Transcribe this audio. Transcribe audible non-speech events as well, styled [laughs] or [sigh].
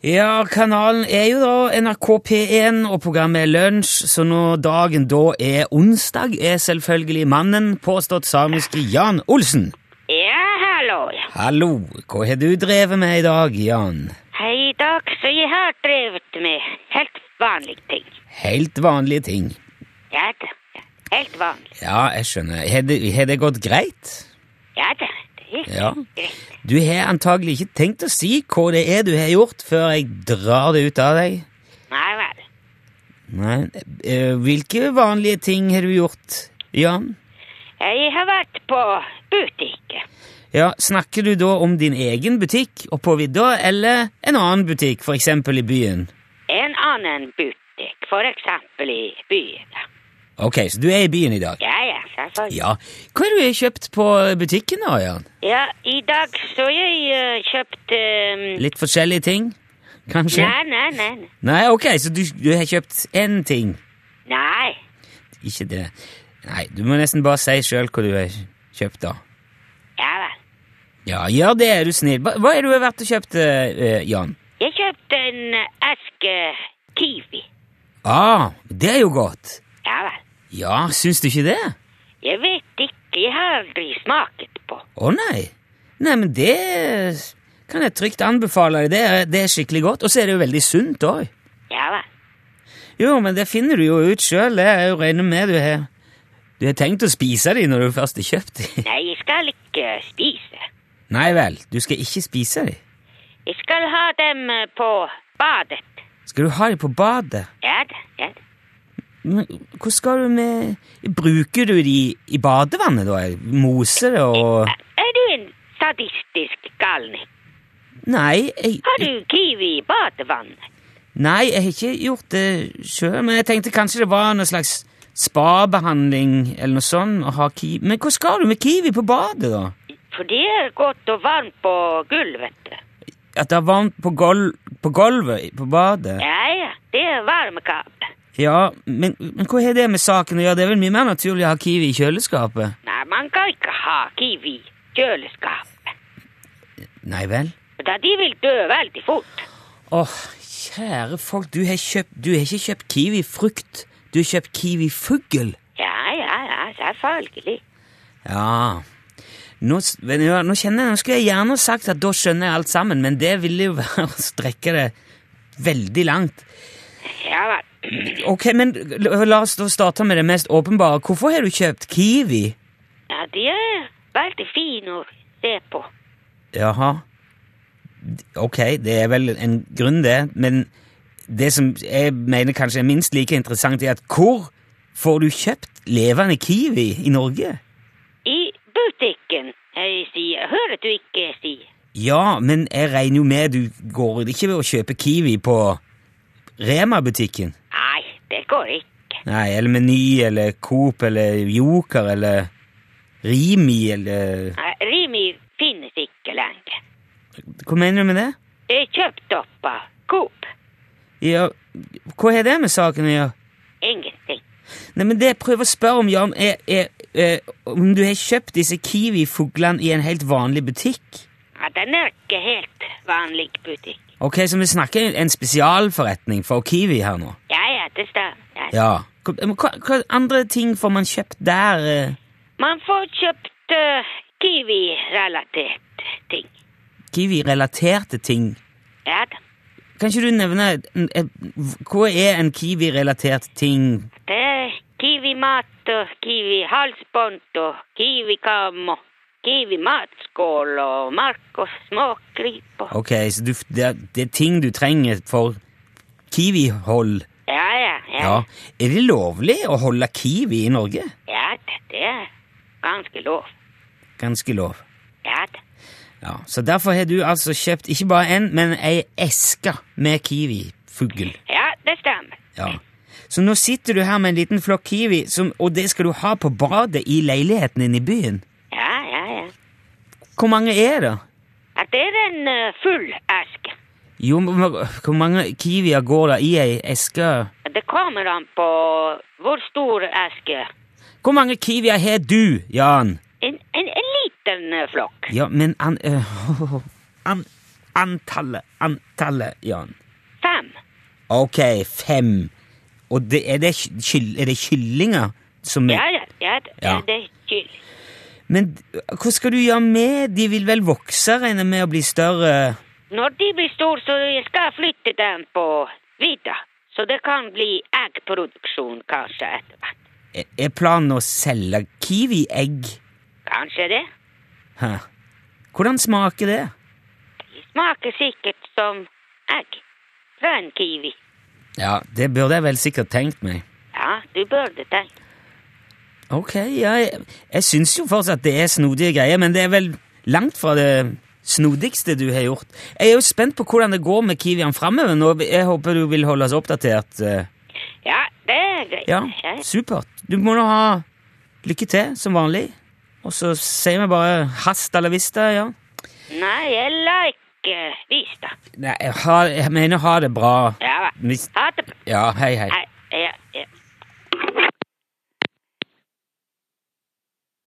Ja, kanalen er jo da NRK P1, og programmet er lunsj, så når dagen da er onsdag, er selvfølgelig mannen, påstått samiske Jan Olsen. Ja, hallo. ja. Hallo, hva har du drevet med i dag, Jan? I dag så jeg har drevet med helt vanlige ting. Helt vanlige ting. Ja da. ja. Helt vanlig. Ja, jeg skjønner. Har det, har det gått greit? Ja da. Det gikk Ja. greit. Du har antagelig ikke tenkt å si hva det er du har gjort, før jeg drar det ut av deg. Nei vel. Nei, eh, hvilke vanlige ting har du gjort, Jan? Jeg har vært på butikken. Ja, Snakker du da om din egen butikk oppå vidda, eller en annen butikk, f.eks. i byen? En annen butikk, for eksempel i byen. da. Ok, så du er i byen i dag? Ja, ja, selvfølgelig. Ja. Hva har du kjøpt på butikken, da, Jan? Ja, i dag så jeg eh, kjøpt... eh, Litt forskjellige ting? Kanskje? Nei, nei, nei, nei. Nei, ok, så du, du har kjøpt én ting? Nei. Ikke det. Nei, du må nesten bare si sjøl hva du har kjøpt, da. Ja vel. Ja, gjør det, er du snill. Hva hva er det du har vært og kjøpt, eh, Jan? Jeg kjøpte en eh, eske kiwi. Ah, det er jo godt. Ja vel. Ja, syns du ikke det? Jeg vet ikke, jeg har aldri smaket på. Å nei. Nei, men det kan jeg trygt anbefale deg. Det er, det er skikkelig godt. Og så er det jo veldig sunt òg. Ja vel. Jo, men det finner du jo ut sjøl. Det er jo regner med du har Du har tenkt å spise de når du først har kjøpt de. [laughs] Nei, jeg skal ikke spise. Nei vel, du skal ikke spise de. Jeg skal ha dem eh, på badet. Skal du ha de på badet? Ja da, ja da. Men hva skal du med Bruker du de i badevannet, da? Moser det og Er du en sadistisk galning? Nei, jeg Har du kiwi i badevannet? Nei, jeg har ikke gjort det sjøl, men jeg tenkte kanskje det var noe slags spabehandling eller noe sånt å ha kiwi Men hva skal du med kiwi på badet, da? For det er godt og varmt på gulvet. At det er varmt på, gol på gulvet i- på badet? Ja ja, det er varmekabel. Ja, men, men hva har det med saken å gjøre? Det er vel mye mer naturlig å ha kiwi i kjøleskapet? Nei, man kan ikke ha kiwi i kjøleskapet. Nei vel? Da de vil dø veldig fort. Åh, kjære folk, du har, kjøpt, du har ikke kjøpt kiwifrukt, du har kjøpt kiwifugl. Ja ja ja, selvfølgelig. Ja. Nå, s- vet du hva, nå kjenner jeg, nå skulle jeg gjerne sagt at da skjønner jeg alt sammen, men det ville jo [laughs] være å strekke det veldig langt. Ja vel. Ok, men la la oss da starte med det mest åpenbare. Hvorfor har du kjøpt kiwi? Ja, de er veldig fine å se på. Jaha. D- Ok, det er vel en grunn det, men det som jeg mener kanskje er minst like interessant er at hvor får du kjøpt levende kiwi i Norge? I butikken, jeg sier. Hører du ikke, jeg sier? Ja, men jeg regner jo med du går ikke ved å kjøpe kiwi på Rema-butikken. Nei, det går ikke. Nei, eller Meny, eller Coop, eller Joker, eller Rimi, eller Nei, Rimi finnes ikke lenger. Hva mener du med det? Det er kjøpt opp av Coop. Ja, hva har det med saken å gjøre? Ingenting. Nei, men det jeg prøver å spørre om, Jan, er, er, eh, om du har kjøpt disse kiwifuglene i en helt vanlig butikk? Ja, den er ikke helt vanlig butikk. Ok, så vi snakker en spesialforretning for kiwi her nå. Ja, ja, det stemmer. Ja. Ja. Hva, men hva, hva andre ting får man kjøpt der? eh? Man får kjøpt eh, kiwi-relatert ting. Kiwi-relaterte ting? Ja da. Kan ikke du nevne en- en- Hva er en kiwi-relatert ting? Det er kiwi-mat og kiwi-halsbånd og kiwi-kam og kiwi-matskål og mark og småkryp og Ok, så du, det, er, det er ting du trenger for kiwihold. Ja, ja, ja. Ja. Er det lovlig å holde kiwi i Norge? Ja, det- det er ganske lov. Ganske lov. Ja, det. Ja, Så derfor har du altså kjøpt ikke bare én, men ei eske med kiwifugl. ja det stemmer. Ja. Så nå sitter du her med en liten flokk kiwi, som, og det skal du ha på badet i leiligheten din i byen. Ja, ja, ja. Hvor mange er det? Ja, det er en eh, full eske. Jo, men hvor mange kiwier går det i ei eske? Det kommer an på hvor stor eske. Hvor mange kiwier har du, Jan? En, en, en liten eh, flokk. Ja, men [laughs] an... øh, an Antallet, antallet, Jan. Fem. Ok, fem. Og det, er, det, kyll- er det kyllinger som er Ja, ja, ja, det- Ja. det er kylling. Men hva skal du gjøre med De vil vel vokse, regner jeg med, og bli større? Når de blir store, så jeg skal flytte dem på vidda. Så det kan bli eggproduksjon kanskje etter hvert. Er- Er planen å selge kiwi-egg? Kanskje det. Hæ? Hvordan smaker det? De smaker sikkert som egg fra en kiwi. Ja, det burde jeg vel sikkert tenkt meg. Ja, du burde tenke. Ok, ja, jeg, jeg syns jo fortsatt det er snodige greier, men det er vel langt fra det snodigste du har gjort. Jeg er jo spent på hvordan det går med kiwiene framover, og jeg håper du vil holde oss oppdatert. eh. Ja, det er greit. Ja, supert. Du må nå ha lykke til, som vanlig. Og så sier vi bare hast eller vista, ja. Nei, jeg liker visda. Nei, jeg, har, jeg mener ha det bra. Ja, vel. Hvis- ha det bra. Ja, hei, hei. Hei.